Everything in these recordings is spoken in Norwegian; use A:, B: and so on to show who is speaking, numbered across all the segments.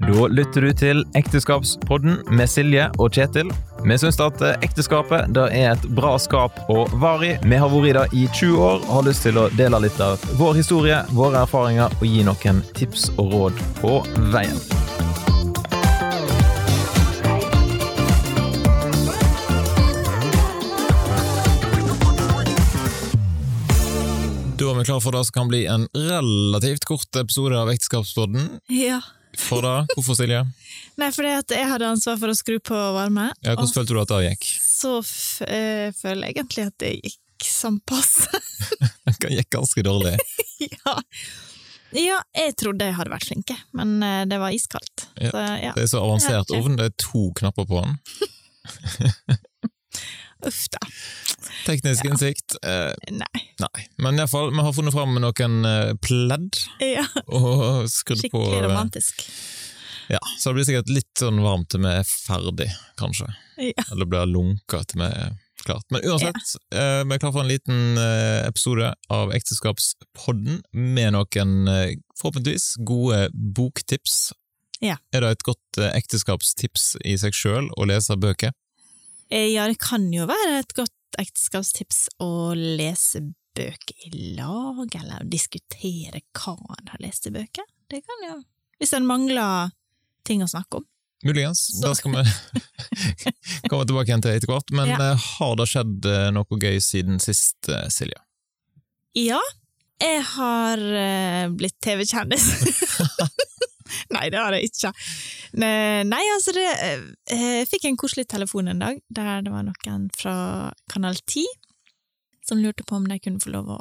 A: Da lytter du til Ekteskapspodden med Silje og Kjetil. Vi syns at ekteskapet det er et bra skap å vare i. Vi har vært i det i 20 år og har lyst til å dele litt av vår historie, våre erfaringer og gi noen tips og råd på veien. Da er vi klar for det som kan bli en relativt kort episode av Ekteskapspodden.
B: Ja.
A: For da, Hvorfor, Silje?
B: Nei, fordi at jeg hadde ansvar for å skru på varme.
A: Ja, hvordan
B: og
A: følte du at det gikk?
B: så f eh, føler jeg egentlig at det gikk som passe.
A: Det gikk ganske dårlig.
B: ja. ja, jeg trodde jeg hadde vært flinke, men eh, det var iskaldt.
A: Ja.
B: Så, ja.
A: Det er så avansert
B: Ja, ok.
A: ovn, det er to knapper på den.
B: Uff da.
A: Teknisk innsikt eh,
B: Nei.
A: Nei. Men iallfall, vi har funnet fram med noen eh, pledd
B: Ja,
A: og skrudd på eh,
B: skikkelig romantisk.
A: Ja, Så det blir sikkert litt sånn varmt til vi er ferdig, kanskje.
B: Ja.
A: Eller blir lunka til vi er klart. Men uansett, eh, vi er klar for en liten eh, episode av Ekteskapspodden med noen eh, forhåpentligvis gode boktips.
B: Ja.
A: Er det et godt eh, ekteskapstips i seg sjøl å lese bøker?
B: Eh, Ja, det kan jo være et godt ekteskapstips å lese bøker i lag, eller diskutere hva en har lest i bøker. Det kan jo Hvis en mangler ting å snakke om.
A: Muligens.
B: Så-
A: Da skal vi komme tilbake igjen til etter hvert. Men
B: Ja.
A: eh, har det skjedd eh, noe gøy siden sist, eh, Silje?
B: Ja, jeg har eh, blitt TV-kjendis. Nei, det har jeg ikke. Ne- Nei, altså det eh, Jeg fikk en koselig telefon en dag der det var noen fra Kanal 10 som lurte på om de kunne få lov å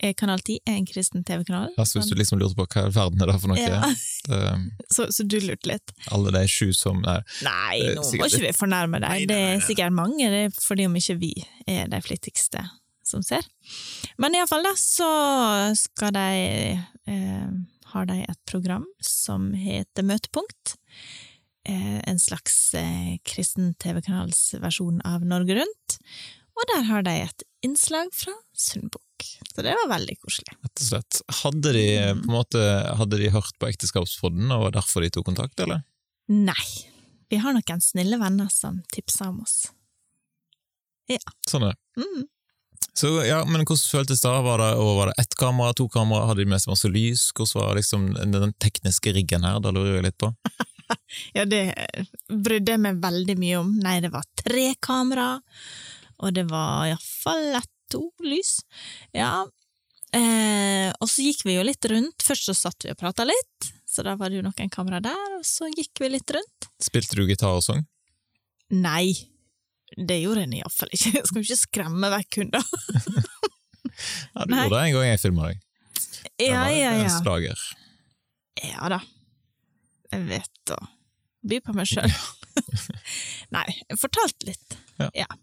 B: eh, Kanal 10 er en kristen TV-kanal.
A: Altså, hvis du
B: men-
A: liksom lurte på hva i verden er det for noe?
B: Ja,
A: Eh,
B: så, så du lurte litt?
A: alle de sju som Nei,
B: Nei,
A: Eh,
B: nå må
A: sikkert
B: ikke vi fornærme
A: Nei, nei,
B: deg. Det
A: nei,
B: er
A: nei.
B: sikkert mange, det er fordi om ikke vi er de flittigste som ser. Men iallfall da, så skal de eh, Har de et program som heter Møtepunkt. Eh, en slags eh, kristen TV-kanals versjon av Norge Rundt. Og der har de et innslag fra Sundbukk. Så det var veldig koselig.
A: rett og slett. Hadde de eh,
B: Mm.
A: på en måte Hadde de hørt på Ekteskapspodden, og var derfor de tok kontakt, eller?
B: Nei, vi har noen snille venner som tipsa om oss.
A: Sånn er det.
B: Mm.
A: Så ja, men Hvordan føltes det? Var det, og var det ett kamera, to kamera? Hadde de med seg masse lys? Hvordan var liksom den- den tekniske riggen her? Det lurer jeg litt på.
B: Ja, det brydde jeg meg veldig mye om. Nei, det var tre kamera, og det var iallfall to lys. Ja. Eh, og så gikk vi jo litt rundt. Først så satt vi og prata litt, så da var det jo noen kamera der, og så gikk vi litt rundt.
A: Spilte du gitar og sang?
B: Nei, det gjorde en iallfall ikke. Jeg skal jo ikke skremme vekk kunder.
A: Ja, du
B: Nei.
A: gjorde det en gang jeg filma deg. Det
B: Ja,
A: var
B: ja,
A: En
B: ja.
A: slager.
B: Ja da. Jeg vet å by på meg sjøl. Nei, jeg fortalte litt.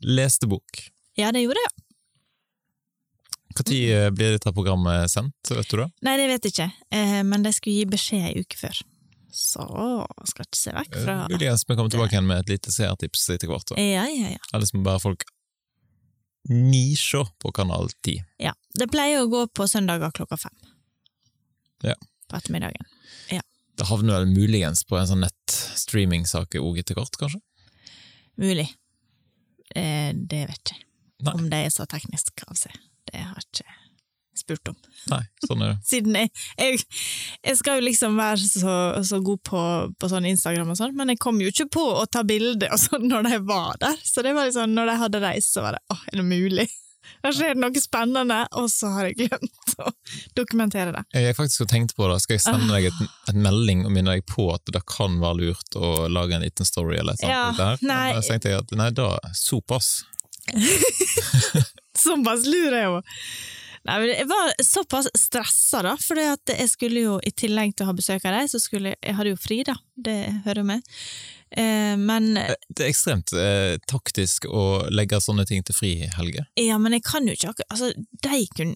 A: Leste bok.
B: Ja, det gjorde jeg.
A: Når
B: Mm.
A: eh, blir dette programmet sendt, vet du det?
B: Nei, det vet jeg ikke, eh, men de skulle gi beskjed ei uke før. Så skal ikke se vekk fra
A: Eh, Muligens vi kommer tilbake igjen med et lite seertips etter hvert. da.
B: Ja, ja, ja.
A: Ellers må bare folk nisje på kanal 10.
B: ja. Det pleier å gå på søndager klokka fem.
A: Ja.
B: På ettermiddagen.
A: Det havner vel muligens på en sånn nettstreaming-sak òg etter hvert, kanskje?
B: Mulig. Eh, det vet jeg
A: Nei.
B: om de er så teknisk av seg. Det har jeg ikke spurt om.
A: Nei, sånn er det.
B: Siden jeg, jeg, jeg skal jo liksom være så, så god på, på sånn Instagram og sånn, men jeg kom jo ikke på å ta bilde og sånn når de var der. Så det var liksom, når de hadde reist, så var det åh, er det mulig? Der skjer det noe spennende, og så har jeg glemt å dokumentere det.
A: Jeg har faktisk tenkt på det. Skal jeg sende deg et, et melding og minne deg på at det kan være lurt å lage en liten story eller et
B: Ja,
A: sånt? der?
B: nei.
A: Men så tenkte jeg at nei, da såpass.
B: Såpass lurer jeg jo. Nei, men jeg var såpass stressa, da, for jeg skulle jo i tillegg til å ha besøk av deg, så skulle jeg, jeg hadde jo fri, da, det hører med. Eh, men
A: Det er ekstremt eh, taktisk å legge sånne ting til fri, Helge.
B: Ja, men jeg kan jo ikke akkurat altså, de, kun,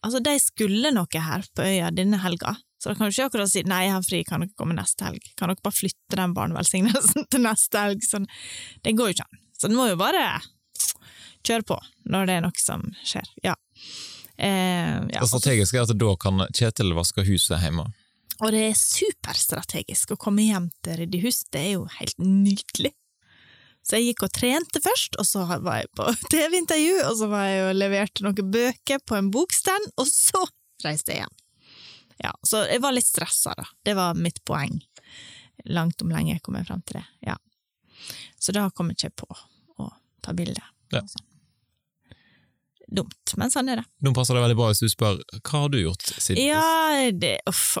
B: altså, de skulle noe her på øya denne helga, så da kan du ikke akkurat si nei, jeg har fri, kan dere komme neste helg? Kan dere bare flytte den barnevelsignelsen til neste helg? Sånn, det går jo ikke an. Så en må jo bare kjøre på når det er noe som skjer. Ja. Eh, ja.
A: Det strategiske er at da kan Kjetil vaske huset hjemme.
B: Og det er superstrategisk å komme hjem til ryddig hus, det er jo helt nydelig. Så jeg gikk og trente først, og så var jeg på TV-intervju, og så var jeg og leverte noen bøker på en bokstand, og så reiste jeg hjem. Ja, så jeg var litt stressa, da. Det var mitt poeng. Langt om lenge kom jeg fram til det, ja. Så da kom jeg ikke på å ta bilde.
A: Ja.
B: Sånn. Dumt, men sånn er det.
A: Nå passer det veldig bra hvis du spør hva har du gjort siden sist?
B: Ja, det Uff.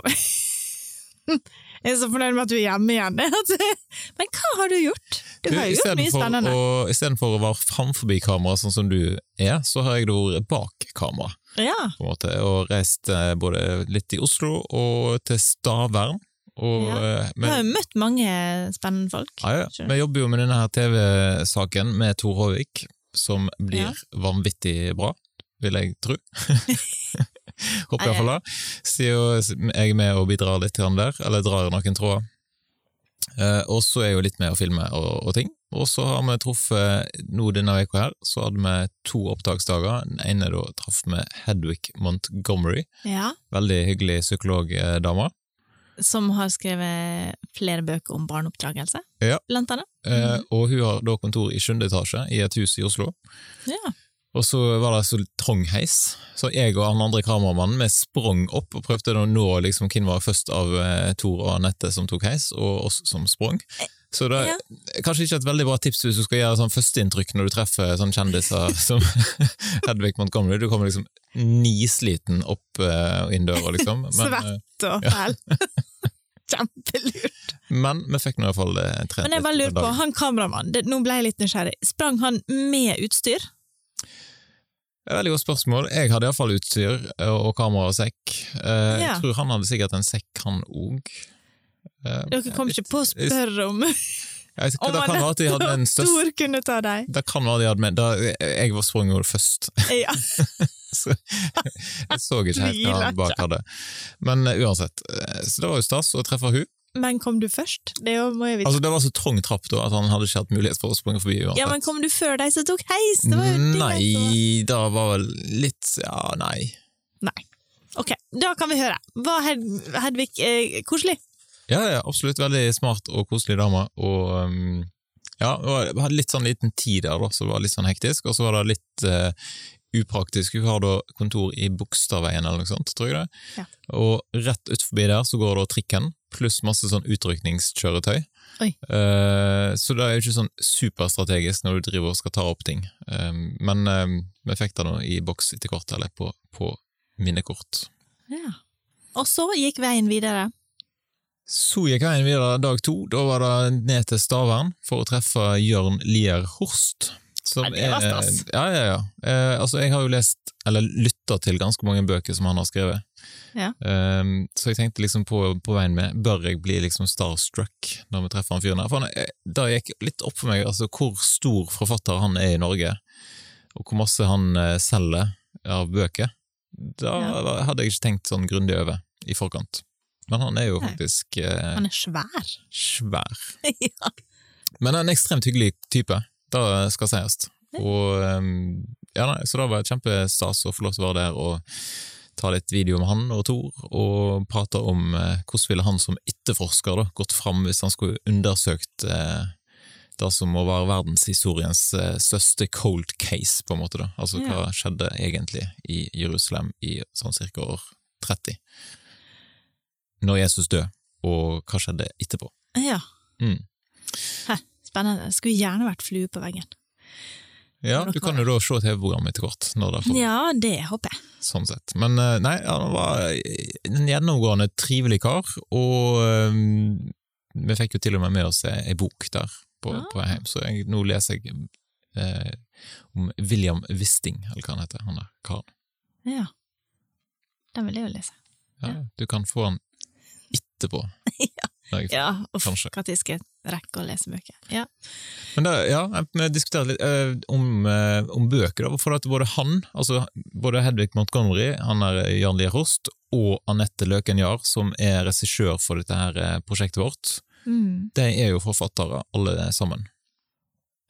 B: Jeg er så fornøyd med at du er hjemme igjen. Men hva har du gjort? Du har jo gjort mye
A: istedenfor
B: spennende.
A: å- Istedenfor å være framforbi kamera, sånn som du er, så har jeg da vært bak kamera.
B: Ja,
A: på en måte, og reist eh, både litt i Oslo og til Stavern. Og, eh,
B: du har
A: men,
B: jo møtt mange spennende folk.
A: ja, ja.
B: Skjønner.
A: Vi jobber jo med denne her TV-saken med Tor Håvik, som blir
B: Ja.
A: vanvittig bra, vil jeg tro. Håper iallfall det. Siden jeg er med og bidrar litt grann der, eller drar i noen tråder. Eh, og så er jeg jo litt med å filme og, og ting. Og så har vi truffet nå denne uka her, så hadde vi to opptaksdager. Den ene da traff vi Hedwig Montgomery.
B: Ja,
A: Veldig hyggelig psykologdame.
B: som har skrevet flere bøker om barneoppdragelse,
A: Ja.
B: blant annet.
A: Eh, og hun har da kontor i sjuende etasje i et hus i Oslo.
B: Ja.
A: Og så var det så trang heis, så jeg og han andre kameramannen vi sprang opp og prøvde å nå liksom, hvem var først av eh, Tor og Anette som tok heis, og oss som sprang. Så det er kanskje ikke et veldig bra tips hvis du skal gjøre sånn førsteinntrykk når du treffer sånne kjendiser som Hedvig Montgomery. Du kommer liksom nisliten opp eh, og inn døra, liksom.
B: Svett.
A: eh,
B: Så fæl. Kjempelurt.
A: men vi fikk nå i hvert fall eh, trent
B: Men jeg bare
A: litt
B: lurer på, han kameramannen, det- nå ble jeg litt nysgjerrig, sprang han med utstyr?
A: Det er et Veldig godt spørsmål. Jeg hadde iallfall utstyr eh, og kamera og sekk. Eh,
B: Ja.
A: Jeg tror han hadde sikkert en sekk, han Eh, òg.
B: Dere kom ikke på å spørre om
A: Det
B: om
A: kan være at de hadde en størst
B: Tor kunne ta deg?
A: det kan være de hadde med, da, Jeg var sprang jo først,
B: Ja.
A: så jeg så ikke helt hva
B: Tviler
A: han bak hadde. Men eh, uansett, eh, så det var jo stas å treffe hun.
B: Men kom du først? Det er jo- må jeg vite.
A: Altså, det var så trang trapp da at han hadde ikke hatt mulighet for å springe forbi uansett.
B: ja, men kom du før de som tok heis? Det var jo altså. det som var-
A: Mm, nei, det var vel litt Ja, nei.
B: Ok, da kan vi høre. Var Hed Hedvig eh, koselig?
A: Ja, ja, absolutt. Veldig smart og koselig dame. Og um, ja, det var- vi hadde litt sånn liten tid der, da, så det var litt sånn hektisk. Og så var det litt eh, upraktisk. Hun har da kontor i Bogstadveien eller noe sånt, tror jeg det.
B: Ja.
A: Og rett ut forbi der så går da trikken, pluss masse sånn utrykningskjøretøy.
B: Oi.
A: Eh, så det er jo ikke sånn superstrategisk når du driver og skal ta opp ting. Eh, men eh, vi fikk det nå i boks etter hvert, eller på, på minnekort.
B: Ja. Og så gikk veien videre.
A: Så gikk veien videre dag to. Da var det ned til Stavern for å treffe Jørn Lier Horst. som
B: Ja, det var
A: er-
B: stas.
A: Ja, ja, ja. Eh, altså, jeg har jo lest, eller lytta til, ganske mange bøker som han har skrevet.
B: Ja.
A: Ehm, så jeg tenkte liksom på, på veien med Bør jeg bli liksom starstruck når vi treffer han fyren her? For han, er- da gikk litt opp for meg altså, hvor stor forfatter han er i Norge, og hvor masse han eh, selger av bøker. Da hadde jeg ikke tenkt sånn grundig over i forkant. Men han er jo
B: Nei.
A: faktisk eh,
B: Han er svær.
A: svær.
B: ja.
A: Men en ekstremt hyggelig type, det skal sies.
B: Ja.
A: Og, ehm, ja, nei, så det var kjempestas å få lov til å være der og ta litt video med han og Tor, og prate om eh, hvordan ville han som etterforsker da, gått fram hvis han skulle undersøkt eh, det som må være verdenshistoriens eh, største cold case, på en måte. da. Altså hva skjedde egentlig i Jerusalem i sånn cirka år 30, når Jesus døde, og hva skjedde etterpå?
B: ja.
A: Mm.
B: Hæ, spennende. Skulle gjerne vært flue på veggen.
A: Ja, du kan jo da se TV-programmet etter hvert. Når det er for,
B: Ja, det håper jeg.
A: sånn sett. Men eh, nei, han var en gjennomgående trivelig kar, og eh, vi fikk jo til og med med oss ei bok der på,
B: Ah.
A: på vei hjem, så jeg, nå leser jeg eh, om William Wisting, eller hva han heter, han der karen.
B: Ja. Den vil jeg jo lese.
A: Ja, Du kan få han etterpå. Når jeg-
B: Ja, uff,
A: Kanskje.
B: når skal jeg rekke å lese bøker? Ja.
A: Men da, ja, vi diskuterte litt eh, om, eh, om bøker, da, for at både han, altså både Hedvig Montgomery, han er eh, Jan Lier Horst, og Anette Løken Jahr, som er regissør for dette her eh, prosjektet vårt,
B: Mm.
A: de er jo forfattere alle sammen.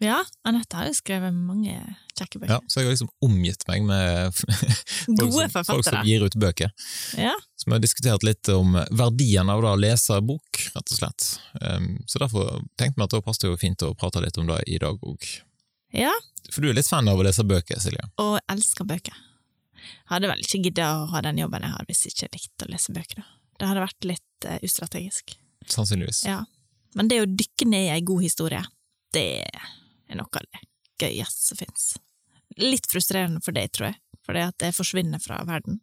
B: ja, Anette har jo skrevet mange kjekke bøker.
A: Ja, så jeg har liksom omgitt meg med folk som,
B: Gode
A: folk som
B: forfattere.
A: gir ut bøker.
B: Ja.
A: Så Vi har diskutert litt om verdien av da å lese bok, rett og slett. Ehm, Så derfor tenkte vi at det passet jo fint å prate litt om det i dag òg.
B: Ja,
A: For du er litt fan av å lese bøker, Silje.
B: og elsker bøker. Hadde vel ikke giddet å ha den jobben jeg har hvis jeg ikke likte å lese bøker. da. Det hadde vært litt eh, ustrategisk.
A: Sannsynligvis.
B: Ja. Men det å dykke ned i ei god historie, det er noe av det gøyeste som fins. Litt frustrerende for deg, tror jeg, fordi at det forsvinner fra verden.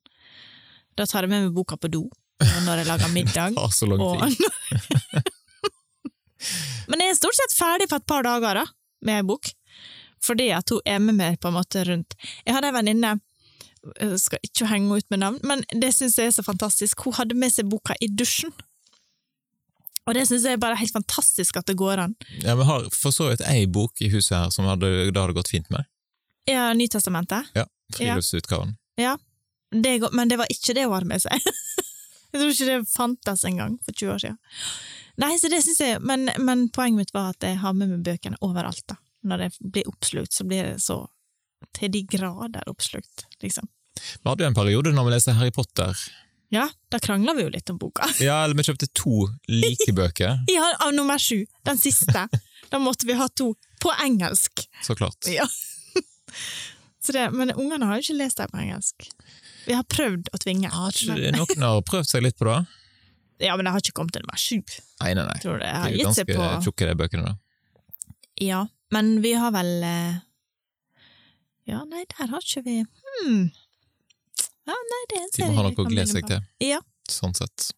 B: Da tar jeg med meg boka på do, og når jeg lager middag.
A: Tar så lang
B: og
A: tid.
B: Men jeg er stort sett ferdig på et par dager da, med ei bok. Fordi at hun er med meg på en måte rundt. Jeg hadde ei venninne, øh, skal ikke henge ut med navn, men det syns jeg er så fantastisk. Hun hadde med seg boka i dusjen. Og det syns jeg er bare helt fantastisk at det går an.
A: Ja, vi har for så vidt ei bok i huset her som hadde, det hadde gått fint med.
B: Ja, Nytestamentet.
A: Friluftsutgaven.
B: Det går, men det var ikke det hun hadde med seg. jeg tror ikke det fantes engang for 20 år siden. Nei, så det synes jeg, men, men poenget mitt var at jeg har med meg bøkene overalt. da. Når jeg blir oppslukt, så blir jeg så til de grader oppslukt, liksom.
A: Vi hadde jo en periode når vi leste Harry Potter.
B: Ja, da krangla vi jo litt om boka.
A: Ja, eller vi kjøpte to like bøker,
B: Ja, av nummer sju, den siste. da måtte vi ha to på engelsk.
A: så klart.
B: Ja. Så det, men ungene har jo ikke lest dem på engelsk. Vi har prøvd å tvinge. men,
A: Noen har prøvd seg litt på det.
B: ja, men jeg har ikke kommet til nummer sju.
A: Nei, nei, nei.
B: Tror du. Jeg
A: De er
B: har
A: jo
B: gitt seg på
A: ganske tjukke, de bøkene. da.
B: Ja, men vi har vel eh, Ja, nei, der har ikke vi hmm. Ja, nei, det er en
A: De
B: serie
A: må ha
B: jeg
A: noe
B: kan
A: å glede seg
B: begynne på.
A: til.
B: Ja.
A: Sånn sett.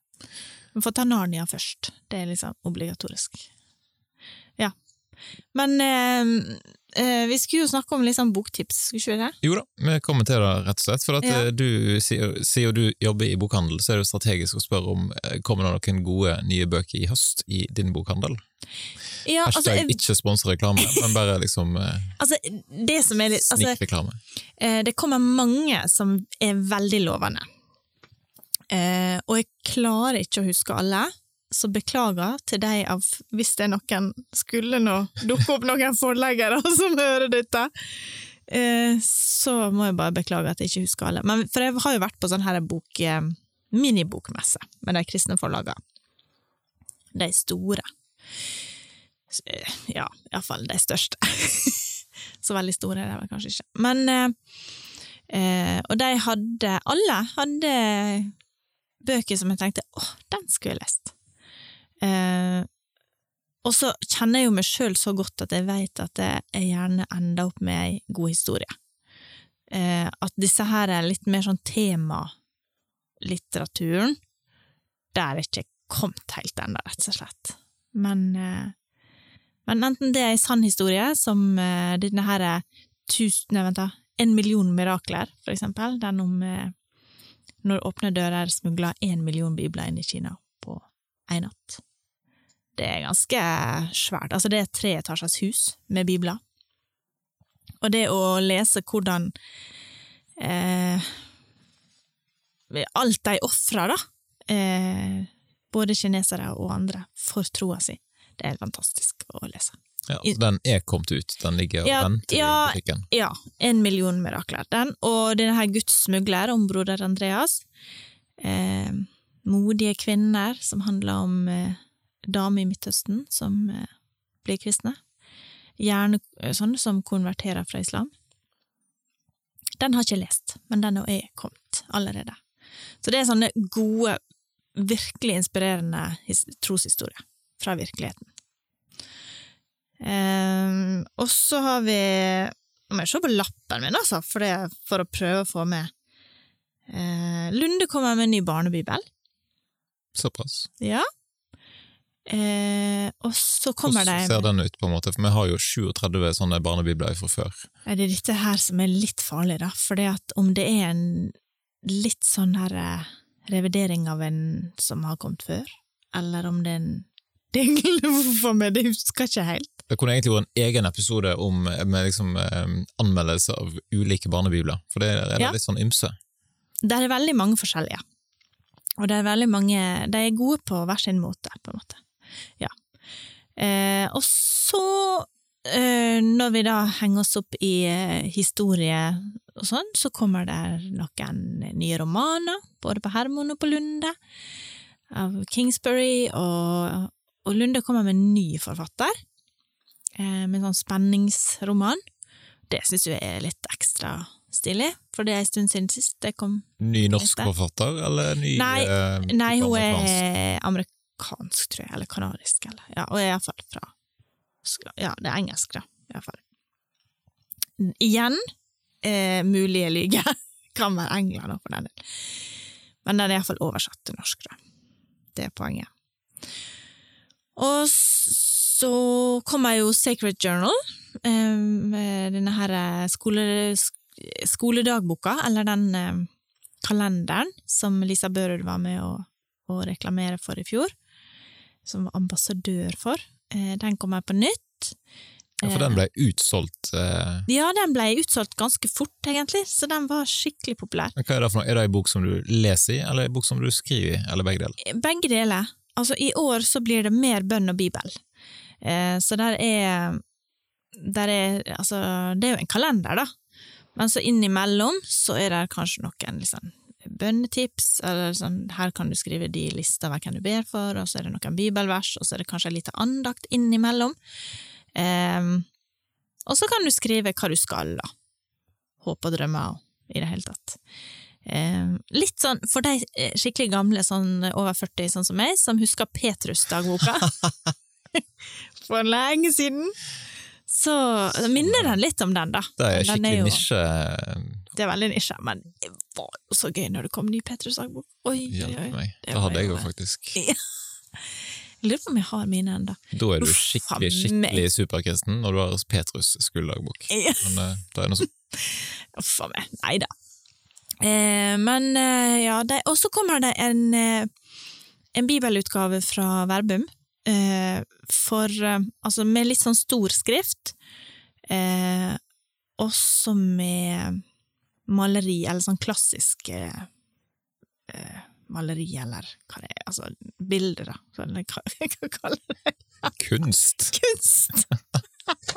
B: Vi får ta Narnia først. Det er liksom obligatorisk. Ja. Men eh, eh, vi skulle jo snakke om litt sånn boktips, skulle ikke vi det?
A: Jo da, vi kommer til det, rett og slett. For at
B: Ja.
A: eh, du, sier- siden du jobber i bokhandel, så er det jo strategisk å spørre om eh, kommer det noen gode nye bøker i høst i din bokhandel.
B: Ja, altså,
A: Hashtag
B: jeg-
A: ikke sponsa reklame, men bare liksom eh,
B: altså, det som er litt altså,
A: snikreklame.
B: Eh, Det kommer mange som er veldig lovende. Eh, og jeg klarer ikke å huske alle, så beklager til de av hvis det er noen skulle nå dukke opp noen forleggere som hører dette. Eh, så må jeg bare beklage at jeg ikke husker alle. Men, for jeg har jo vært på sånn her bok, eh, minibokmesse med de kristne forlagene. De store. S- eh, Ja, iallfall de største. Så veldig store er de vel kanskje ikke. Men eh, eh, Og de hadde Alle hadde bøker som jeg tenkte åh, den skulle jeg lest. Eh, og så kjenner jeg jo meg sjøl så godt at jeg veit at jeg gjerne ender opp med ei god historie. Eh, at disse her er litt mer sånn temalitteraturen. Der er jeg ikke kommet helt ennå, rett og slett. Men eh, men enten det er en sann historie, som eh, denne her er tusen, nei, vent da, en million mirakler, for eksempel, den om eh, når åpne dører smugla en million bibler inn i Kina på en natt. Det er ganske svært. Altså, det er et treetasjers hus med bibler. Og det å lese hvordan eh, Alt de ofrer, da. Eh, både kinesere og andre, for troa si. Det er fantastisk å lese.
A: Ja, så den er kommet ut, den ligger og
B: Ja,
A: venter
B: ja.
A: i butikken.
B: Ja, en million mirakler. Den, og denne her gudssmugler om broder Andreas. Eh, modige kvinner, som handler om eh, damer i Midtøsten som eh, blir kristne. Gjerne eh, sånne som konverterer fra islam. Den har ikke jeg lest, men den er kommet allerede. Så det er sånne gode, virkelig inspirerende his- troshistorier fra virkeligheten. Eh, og så har vi nå må jeg se på lappen min, altså, for, det, for å prøve å få med. Eh, Lunde kommer med en ny barnebibel.
A: Såpass.
B: Ja. Eh, og så kommer
A: Hvordan ser
B: de
A: den ut, på en måte? For vi har jo 37 sånne barnebibler fra før.
B: Er det dette her som er litt farlig, da? For om det er en litt sånn her eh, revidering av en som har kommet før, eller om det er en Det er egentlig hvorfor meg, det husker jeg ikke helt.
A: Det kunne egentlig vært en egen episode om, med liksom, eh, anmeldelse av ulike barnebibler, for det er det
B: Ja.
A: litt sånn ymse.
B: Det er veldig mange forskjellige. Og det er veldig mange De er gode på hver sin måte, på en måte. Ja. Eh, og så eh, når vi da henger oss opp i eh, historie og sånn, så kommer det noen nye romaner, både på Hermon og på Lunde, av Kingsbury, og, og Lunde kommer med en ny forfatter, eh, med en sånn spenningsroman. Det syns jeg er litt ekstra stilig, for det er en stund siden sist det kom
A: Ny norsk
B: Dette.
A: forfatter, eller ny
B: Nei,
A: eh,
B: Nei, hun
A: amerikansk?
B: er amerikansk, tror jeg, eller kanadisk, eller ja, og er iallfall fra Ja, det er engelsk, da, iallfall. Igjen eh, mulig jeg lyver. Kan være England òg, for den del. Men den er iallfall oversatt til norsk, da. Det er poenget. Og så kommer jo Sacred Journal, eh, med denne her eh, skole, sk- skoledagboka, eller den eh, kalenderen som Lisa Børud var med å, å reklamere for i fjor, som var ambassadør for. Eh, Den kommer på nytt.
A: Ja, for den ble utsolgt. eh,
B: Ja, den ble utsolgt ganske fort, egentlig, så den var skikkelig populær.
A: Men hva Er det for noe? Er det en bok som du leser i, eller en bok som du skriver i, eller begge deler?
B: Begge deler. Altså, i år så blir det mer bønn og bibel. Eh, så der er, der er Altså, det er jo en kalender, da. Men så innimellom så er det kanskje noen liksom, bønnetips, eller sånn her kan du skrive de lista hver hvem du ber for, og så er det noen bibelvers, og så er det kanskje en liten andakt innimellom. Eh, og så kan du skrive hva du skal, da. Håp og drømmer og i det hele tatt. Eh, litt sånn for de eh, skikkelig gamle, sånn eh, over 40, sånn som meg, som husker Petrus-dagboka for lenge siden. Så det minner den litt om den, da.
A: Det er
B: Den
A: skikkelig
B: jo-
A: nisje. eh,
B: Det er veldig nisje, men det var jo så gøy når det kom ny Petrus-dagbok. Oi, oi,
A: Hjelp
B: oi.
A: meg.
B: Det
A: Det
B: var
A: hadde jeg
B: jo
A: jo
B: det.
A: faktisk.
B: Jeg lurer på om jeg har mine ennå.
A: Da er du
B: Uff,
A: skikkelig,
B: faen meg.
A: skikkelig superkristen når du har Petrus skoledagbok.
B: Ja.
A: Men eh, det er noe som
B: Uff a meg. Nei da. Eh, men eh, ja, de- og så kommer det en, eh, en bibelutgave fra Verbum. Eh, for eh, Altså med litt sånn stor skrift. Eh, også med maleri, eller sånn klassisk eh, eh, maleri, eller hva det er Altså bilder, da. Eller hva hva kaller det?
A: kunst.
B: Kunst!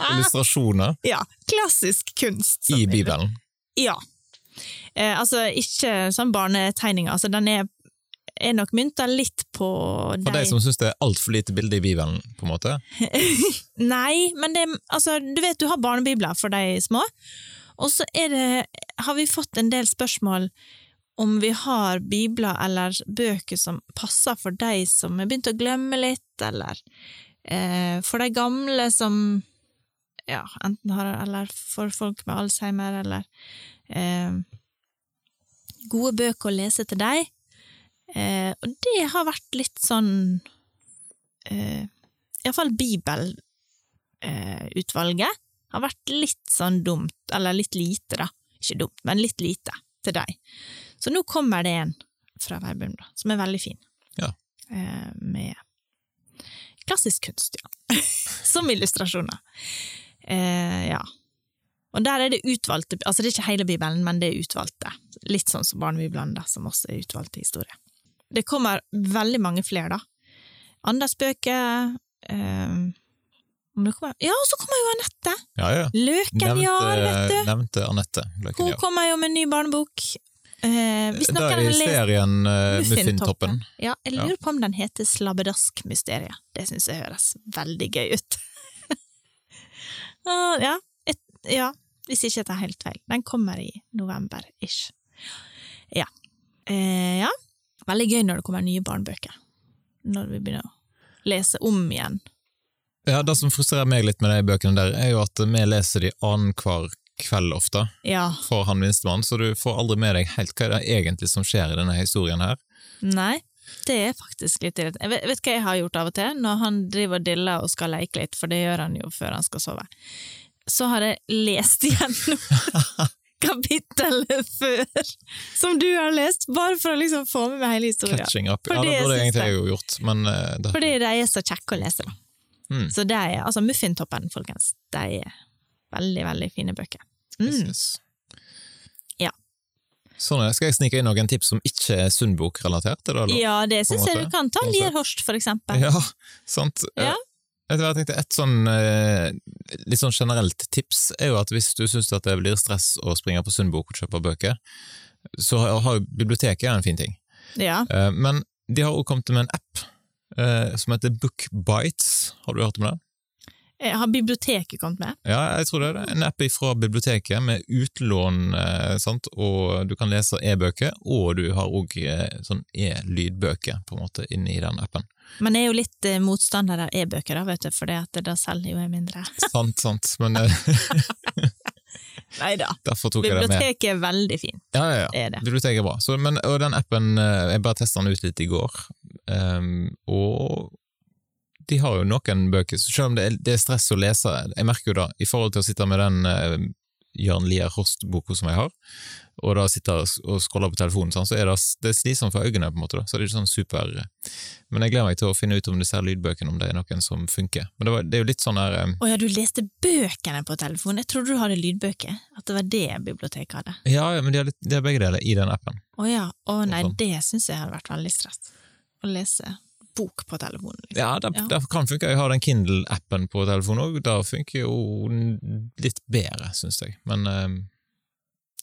A: Illustrasjoner
B: Ja, klassisk kunst. som
A: i
B: vi-
A: Bibelen.
B: Ja. Eh, altså, ikke sånn barnetegninger. Altså, den er, er nok mynta litt på
A: For de som syns det er altfor lite bilde i Bibelen, på en måte.
B: Nei, men det Altså, du vet du har barnebibler for de små, og så er det Har vi fått en del spørsmål om vi har bibler eller bøker som passer for de som har begynt å glemme litt, eller eh, for de gamle som ja, enten har Eller for folk med Alzheimer, eller eh, Gode bøker å lese til deg. Eh, og det har vært litt sånn eh, iallfall bibelutvalget eh, har vært litt sånn dumt, eller litt lite da, ikke dumt, men litt lite til deg. Så nå kommer det en fra Verbum da, som er veldig fin.
A: Ja.
B: Eh, med klassisk kunst, ja. som illustrasjoner. Eh, ja. Og der er det utvalgte, altså det er ikke hele Bibelen, men det er utvalgte. Litt sånn som barnebiblene da, som også er utvalgte historier. Det kommer veldig mange flere da. Anders bøker, Ehm, om det kommer, ja, og så kommer jo Anette!
A: Ja, ja.
B: Løken Jahr, vet
A: Nevnte,
B: du.
A: nevnte Anette Løken
B: Hun
A: Jahr.
B: kommer jo med en ny barnebok. Eh, hvis noen
A: Der
B: har
A: i
B: lest
A: serien eh,
B: Muffintoppen
A: Muffintoppen.
B: Ja, jeg lurer på om den heter Slabbedask-mysteriet. Det syns jeg høres veldig gøy ut. Ah, ja, et, ja, hvis ikke jeg tar helt feil. Den kommer i november-ish. Ja. Eh, ja. Veldig gøy når det kommer nye barnebøker. Når vi begynner å lese om igjen.
A: Ja, Det som frustrerer meg litt med de bøkene der, er jo at vi leser de annenhver kveld ofte.
B: Ja.
A: for han minstemann, så du får aldri med deg helt hva det er egentlig som skjer i denne historien her.
B: Nei, det er faktisk litt irriterende. Jeg vet, vet hva jeg har gjort av og til, når han driver og diller og skal leke litt, for det gjør han jo før han skal sove. Så har jeg lest igjennom kapittelet før, som du har lest, bare for å liksom få med meg hele historien.
A: Catching up.
B: For
A: Ja, det
B: det
A: burde
B: syns
A: egentlig
B: jeg.
A: jeg jo gjort, men eh, det,
B: Fordi de er så kjekke å lese, da.
A: Mm.
B: Så det er, altså Muffintoppen, folkens, de er veldig, veldig fine bøker.
A: yes,
B: Mm.
A: yes.
B: Ja.
A: Sånn, ja. skal jeg snike inn noen tips som ikke er Sundbok-relatert? er det lov?
B: Ja, det
A: på en
B: syns jeg
A: måte.
B: du kan ta.
A: På en måte.
B: Lier Horst, for eksempel.
A: Ja, sant. Eh,
B: Ja.
A: Jeg bare tenkte Et sånn, eh, litt sånn generelt tips er jo at hvis du syns det blir stress å springe på Sundbok og kjøpe bøker, så har har jo biblioteket en fin ting.
B: Ja.
A: Eh, Men de har også kommet med en app eh, som heter Bookbites. Har du hørt om det?
B: Eh, Har biblioteket kommet med?
A: Ja, jeg tror det er det. En app fra biblioteket med utlån, eh, sant? og du kan lese e-bøker, og du har òg sånn e-lydbøker på en måte inni den appen.
B: Men jeg er jo litt eh, motstander av e-bøker, da, vet du, for da selger jo jeg mindre.
A: sant, sant, men eh,
B: Nei da.
A: derfor tok jeg det med.
B: Biblioteket er veldig fint,
A: Ja, ja, ja.
B: det er det.
A: Biblioteket er bra. Så, men, og den appen, eh, jeg bare testet den ut litt i går, ehm, og de har jo noen bøker, så selv om det er, det er stress å lese, jeg merker jo da, i forhold til å sitte med den uh, Jørn Lier Horst-boka som jeg har, og da sitte og scrolle på telefonen, sånn, så er det, det er slitsomt for øynene, på en måte, da. så det er ikke sånn super Men jeg gleder meg til å finne ut om disse her lydbøkene, om det er noen som funker. Men det, var, det er jo litt sånn der eh,
B: Å ja, du leste bøkene på telefonen? Jeg trodde du hadde lydbøker. At det var det biblioteket hadde.
A: Ja, ja, men de har, litt, de har begge deler i den appen.
B: Å ja. Å nei,
A: sånn.
B: det syns jeg hadde vært veldig stress. Å lese bok på telefonen. Liksom.
A: Ja, det,
B: Ja.
A: det kan funke. Jeg har den Kindle-appen på telefonen òg. Det funker jo litt bedre, syns jeg. Men ehm,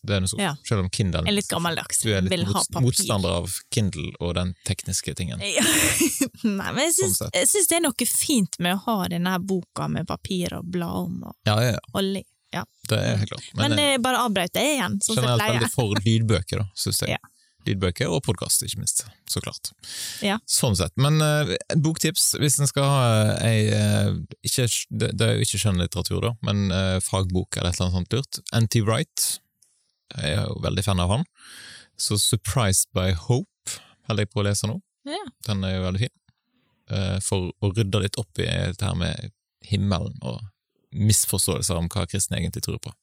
A: det er noe så.
B: Ja.
A: Selv om Kindle
B: Jeg er litt gammeldags.
A: Mm. Du er litt
B: Vil ha
A: mots-
B: papir.
A: motstander av Kindle og den tekniske tingen.
B: Ja. nei, men jeg syns,
A: Sånn sett.
B: jeg syns det er noe fint med å ha denne her boka med papir og bla om og,
A: Ja, ja, ja.
B: og le. Ja.
A: Det er helt klart.
B: Men,
A: Men, jeg
B: eh, bare avbrøt jeg igjen,
A: er
B: sånn som jeg
A: generelt
B: pleier.
A: veldig for lydbøker, da, syns jeg.
B: Ja.
A: Lydbøker og podkast, ikke minst. Så klart.
B: Ja.
A: Sånn sett. Men eh, et boktips, hvis en skal ha eh, ei eh, ikke, det, det er jo ikke skjønnlitteratur, da, men eh, fagbok eller et eller annet sånt lurt. N.T. Wright. Jeg er jo veldig fan av han. Så Surprised by Hope holder jeg på å lese nå.
B: Ja.
A: Den er jo veldig fin. Eh, for å rydde litt opp i dette her med himmelen og misforståelser om hva kristne egentlig tror på.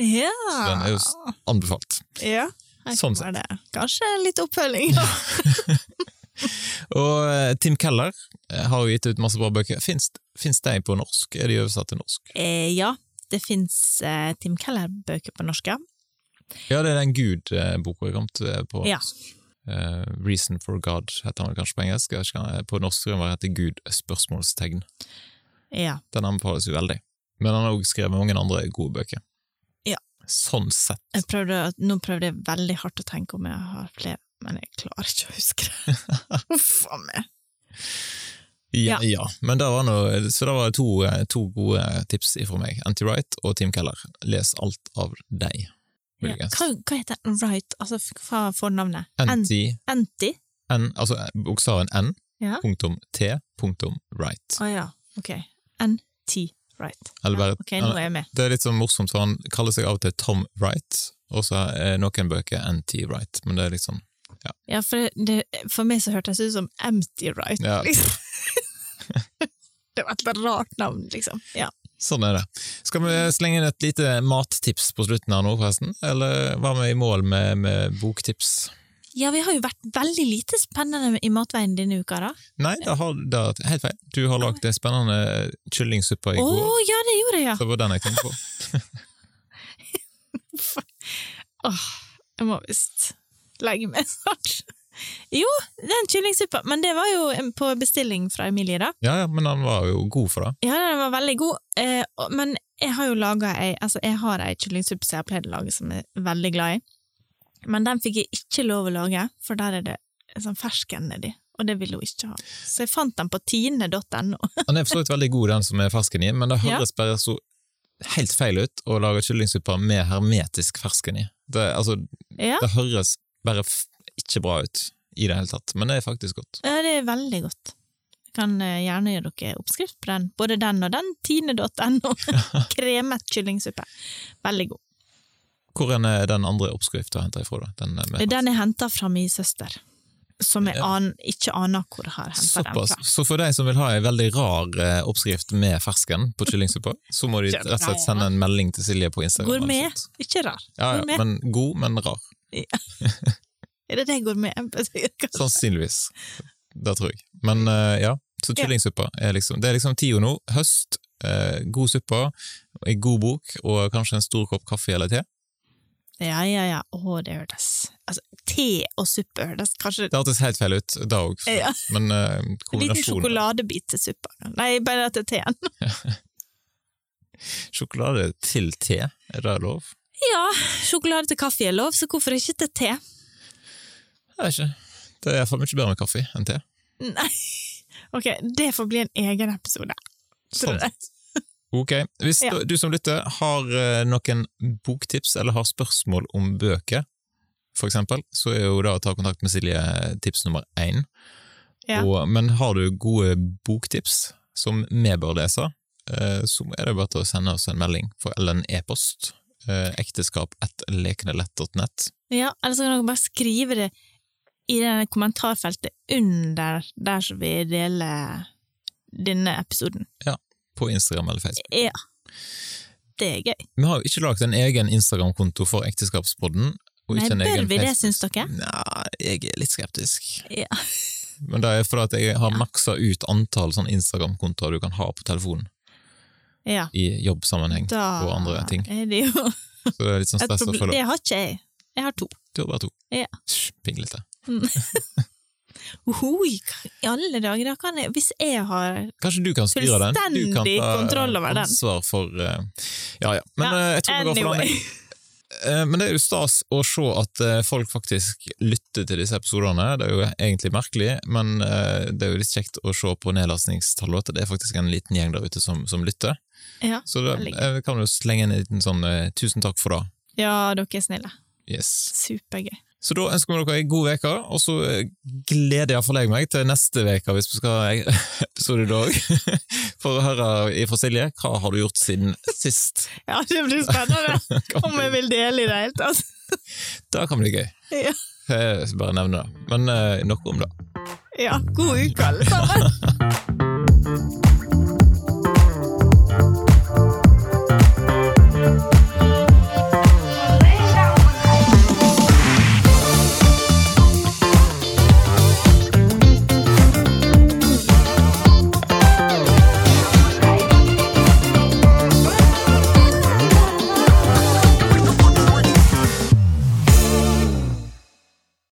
B: Ja.
A: Så den er jo s- Anbefalt.
B: ja. Her
A: Sånn
B: kommer det. Kanskje litt oppfølging. Ja.
A: Og eh, Tim Keller eh, har jo gitt ut masse bra bøker. Fins de på norsk? Er de oversatt til norsk?
B: Eh, ja, det fins eh, Tim Keller-bøker på norsk, ja.
A: Ja, det er den Gud-boka jeg kom til eh, på
B: Ja.
A: norsk. Eh, Reason for God heter han vel kanskje på engelsk. Jeg vet ikke, eh, På norsk tror jeg den heter Gud spørsmålstegn.
B: ja.
A: Den anbefales jo veldig. Men han har også skrevet mange andre gode bøker.
B: Ja.
A: Sånn sett.
B: Jeg prøvde, å- nå prøvde jeg veldig hardt å tenke om jeg har flere, men jeg klarer ikke å huske det. Uff a meg.
A: Ja, ja. Men det var noe, så det var to, eh, to gode tips ifra meg. Anti-Wright og Tim Keller. Les alt av deg.
B: Ja. Hva, hva heter den? Right, altså f- hva er fornavnet? Ent-
A: Anti,
B: Enti?
A: n, altså eh, bokstaven N,
B: Ja.
A: punktum T, punktum Wright.
B: Å ja, ok. N-T, right.
A: Eller bare,
B: Ok, nå er jeg med.
A: det er litt sånn morsomt, for han kaller seg av og til Tom Wright, og så er noen bøker NT Wright, men det er liksom
B: Ja, for, det, for meg så hørtes det ut som Empty Right,
A: Ja.
B: liksom. det var et rart navn, liksom. Ja.
A: Sånn er det. Skal vi slenge inn et lite mattips på slutten her nå, forresten? Eller var vi i mål med, med boktips?
B: ja, vi har jo vært veldig lite spennende i matveien denne uka, da.
A: Nei, det har, det er helt feil. Du har lagd en spennende kyllingsuppa i
B: Å
A: går.
B: ja, det gjorde jeg, ja!
A: Det var den jeg tenkte på.
B: Åh, jeg må visst legge meg snart. Jo, den kyllingsuppa, men det var jo en- på bestilling fra Emilie, da.
A: Ja, ja, men han var jo god for det.
B: Ja, den var veldig god, eh, og- men jeg har jo laga ei Altså, jeg har ei kyllingsuppe som jeg har pleid å lage, som jeg er veldig glad i. Men den fikk jeg ikke lov å lage, for der er det sånn fersken nedi, og det ville hun ikke ha. Så jeg fant den på tine.no.
A: Han er for så vidt veldig god, den som er fersken i, men det
B: Ja.
A: høres bare så helt feil ut å lage kyllingsuppa med hermetisk fersken i. Det, altså,
B: Ja,
A: det høres bare f ikke bra ut i det hele tatt, men det er faktisk godt.
B: ja, det er veldig godt. Jeg kan eh, gjerne gjøre dere oppskrift på den. Både den og den. Tine.no. Kremet kyllingsuppe. Veldig god.
A: Hvor enn er den andre oppskriften hentet ifra, da? Den er med.
B: Den er henta fra min søster, som jeg
A: Ja.
B: an, ikke aner hvor jeg har henta den
A: Såpass.
B: fra.
A: Så for deg som vil ha en veldig rar eh, oppskrift med fersken på kyllingsuppa, så må de rett og slett sende en melding til Silje på Instagram. eller
B: Gourmet.
A: sånt.
B: Ikke rar.
A: Ja, ja,
B: Gourmet.
A: men god, men rar.
B: Er det det gourmet betyr? kanskje?
A: Sannsynligvis. Det tror jeg. Men eh, ja, så
B: Ja.
A: kyllingsuppa er liksom Det er liksom tida nå. Høst, eh, god suppe, ei god bok og kanskje en stor kopp kaffe eller te.
B: Ja, ja, ja. Å, det hørtes altså, te og suppe hørtes kanskje
A: Det hørtes helt feil ut, det òg.
B: Ja.
A: Men eh,
B: Liten
A: kombinasjonen
B: sjokoladebit til suppa. Nei, bare til teen.
A: Sjokolade til te, er det lov?
B: Ja, sjokolade til kaffe er lov, så hvorfor ikke til te?
A: Jeg vet ikke. Det er iallfall mye bedre med kaffe enn te.
B: Nei. Ok, det får bli en egen episode. Tror
A: Sant.
B: jeg.
A: Ok, Hvis
B: Ja.
A: du som lytter har eh, noen boktips eller har spørsmål om bøker, for eksempel, så er jo da å ta kontakt med Silje eh, tips nummer én.
B: Ja.
A: Og, men har du gode boktips som vi bør lese, eh, så er det bare til å sende oss en melding for, eller en e-post. Eh, Ekteskap.lekenelett.nett.
B: Ja, eller så kan dere bare skrive det i det kommentarfeltet under der som vi deler denne episoden.
A: På Instagram eller Facebook.
B: Ja. Det er gøy.
A: Vi har jo ikke lagd en egen Instagram-konto for Ekteskapspodden. Og
B: Nei,
A: ikke en
B: bør
A: egen
B: vi det,
A: Facebook-
B: syns dere?
A: Nei, jeg er litt skeptisk.
B: Ja.
A: Men det er fordi at jeg har maksa ut antall sånn Instagram-kontoer du kan ha på telefonen
B: Ja.
A: i jobbsammenheng
B: Da
A: og andre ting.
B: er det jo
A: Så det er litt sånn
B: et
A: stress å
B: problem.
A: følge opp.
B: Det har ikke jeg. Jeg har to.
A: Du har bare to.
B: Ja.
A: Hysj, Pinglete.
B: Ohoi, Uhuh, i alle dager, da kan jeg Hvis jeg har
A: Kanskje du kan styre den? Du kan
B: Fullstendig
A: ta eh,
B: kontroll over den.
A: ansvar for eh, Ja ja. Men eh, jeg tror vi går for den.
B: Anyway.
A: jeg. Eh, Men det er jo stas å se at eh, folk faktisk lytter til disse episodene. Det er jo egentlig merkelig, men eh, det er jo litt kjekt å se på nedlastningstallet at det er faktisk en liten gjeng der ute som, som lytter.
B: Ja.
A: Så da
B: veldig.
A: eh, kan du slenge inn en liten sånn eh, 'tusen takk for det'.
B: ja, dere er snille.
A: Yes.
B: Supergøy.
A: Så da ønsker vi dere ei god uke, og så eh, gleder jeg for jeg meg til neste uke hvis vi skal ha en episode i dag, for å høre fra Silje hva har du gjort siden sist.
B: Ja, det blir spennende
A: Kan
B: om
A: bli-
B: jeg vil dele i det hele tatt.
A: Det kan bli gøy.
B: Ja.
A: Jeg skal bare eh, nevne det. Men eh, nok om det.
B: ja. God uke, alle sammen.